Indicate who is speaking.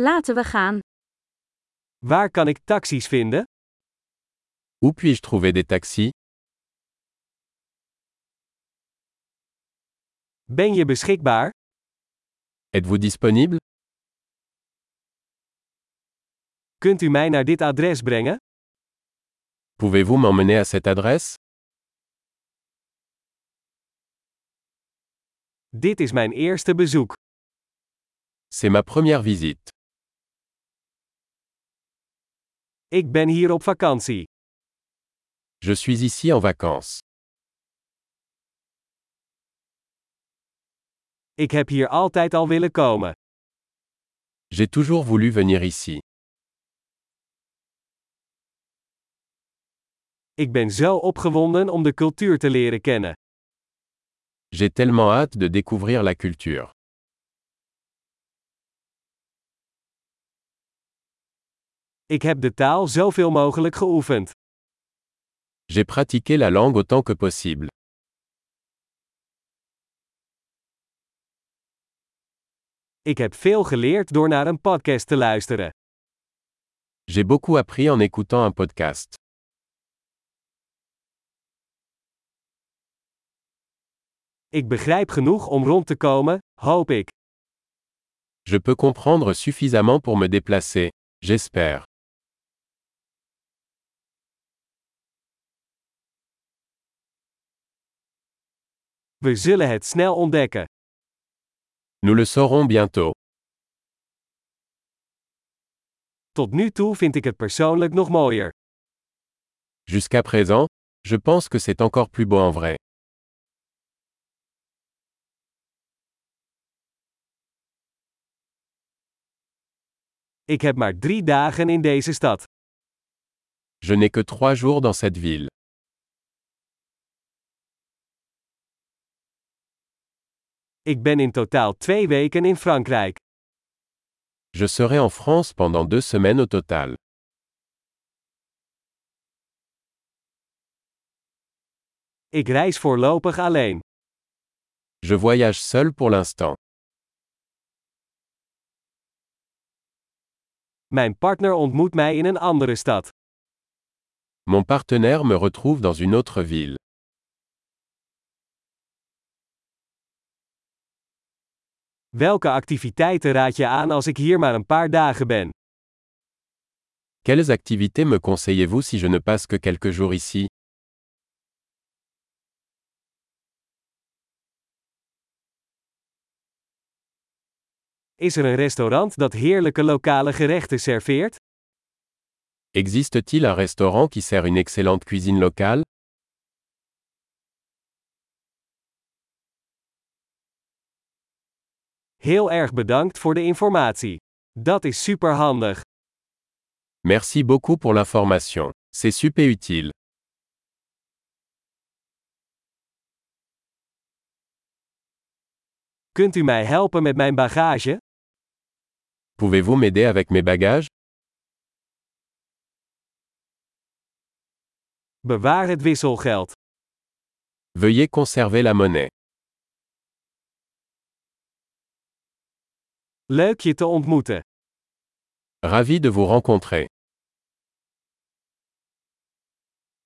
Speaker 1: Laten we gaan.
Speaker 2: Waar kan ik taxis vinden?
Speaker 3: Où puis-je trouver des taxis
Speaker 2: Ben je beschikbaar?
Speaker 3: Êtes-vous disponible
Speaker 2: Kunt u mij naar dit adres brengen?
Speaker 3: Pouvez-vous m'emmener à cette adresse
Speaker 2: Dit is mijn eerste bezoek.
Speaker 3: C'est ma première visite.
Speaker 2: Ik ben hier op vakantie.
Speaker 3: Je suis ici en vacances.
Speaker 2: Ik heb hier altijd al willen komen.
Speaker 3: J'ai toujours voulu venir ici.
Speaker 2: Ik ben zo opgewonden om de cultuur te leren kennen.
Speaker 3: J'ai tellement hâte de découvrir la culture.
Speaker 2: Ik heb de taal zoveel mogelijk geoefend.
Speaker 3: J'ai pratiqué la langue autant que possible.
Speaker 2: Ik heb veel geleerd door naar een podcast te luisteren.
Speaker 3: J'ai beaucoup appris en écoutant un podcast.
Speaker 2: Ik begrijp genoeg om rond te komen, hoop ik.
Speaker 3: Je peux comprendre suffisamment pour me déplacer. J'espère.
Speaker 2: We zullen het snel ontdekken.
Speaker 3: Nous le saurons bientôt.
Speaker 2: Tot nu toe vind ik het persoonlijk nog mooier.
Speaker 3: Jusqu'à présent, je pense que c'est encore plus beau en vrai.
Speaker 2: Ik heb maar drie dagen in deze stad.
Speaker 3: Je n'ai que trois jours dans cette ville.
Speaker 2: Ik ben in totaal twee weken in Frankrijk.
Speaker 3: Je serai en France pendant deux semaines au total.
Speaker 2: Ik reis voorlopig alleen.
Speaker 3: Je voyage seul pour l'instant.
Speaker 2: Mijn partner ontmoet mij in een andere stad.
Speaker 3: Mon partenaire me retrouve dans une autre ville.
Speaker 2: Welke activiteiten raad je aan als ik hier maar een paar dagen ben?
Speaker 3: Quelles activités me conseillez-vous si je ne passe que quelques jours ici
Speaker 2: Is er een restaurant dat heerlijke lokale gerechten serveert?
Speaker 3: Existe-t-il un restaurant qui sert une excellente cuisine locale
Speaker 2: Heel erg bedankt voor de informatie. Dat is superhandig.
Speaker 3: Merci beaucoup pour l'information. C'est super utile.
Speaker 2: Kunt u mij helpen met mijn bagage?
Speaker 3: Pouvez-vous m'aider avec mes bagages
Speaker 2: Bewaar het wisselgeld.
Speaker 3: Veuillez conserver la monnaie.
Speaker 2: Leuk je te ontmoeten.
Speaker 3: Ravi de vous rencontrer.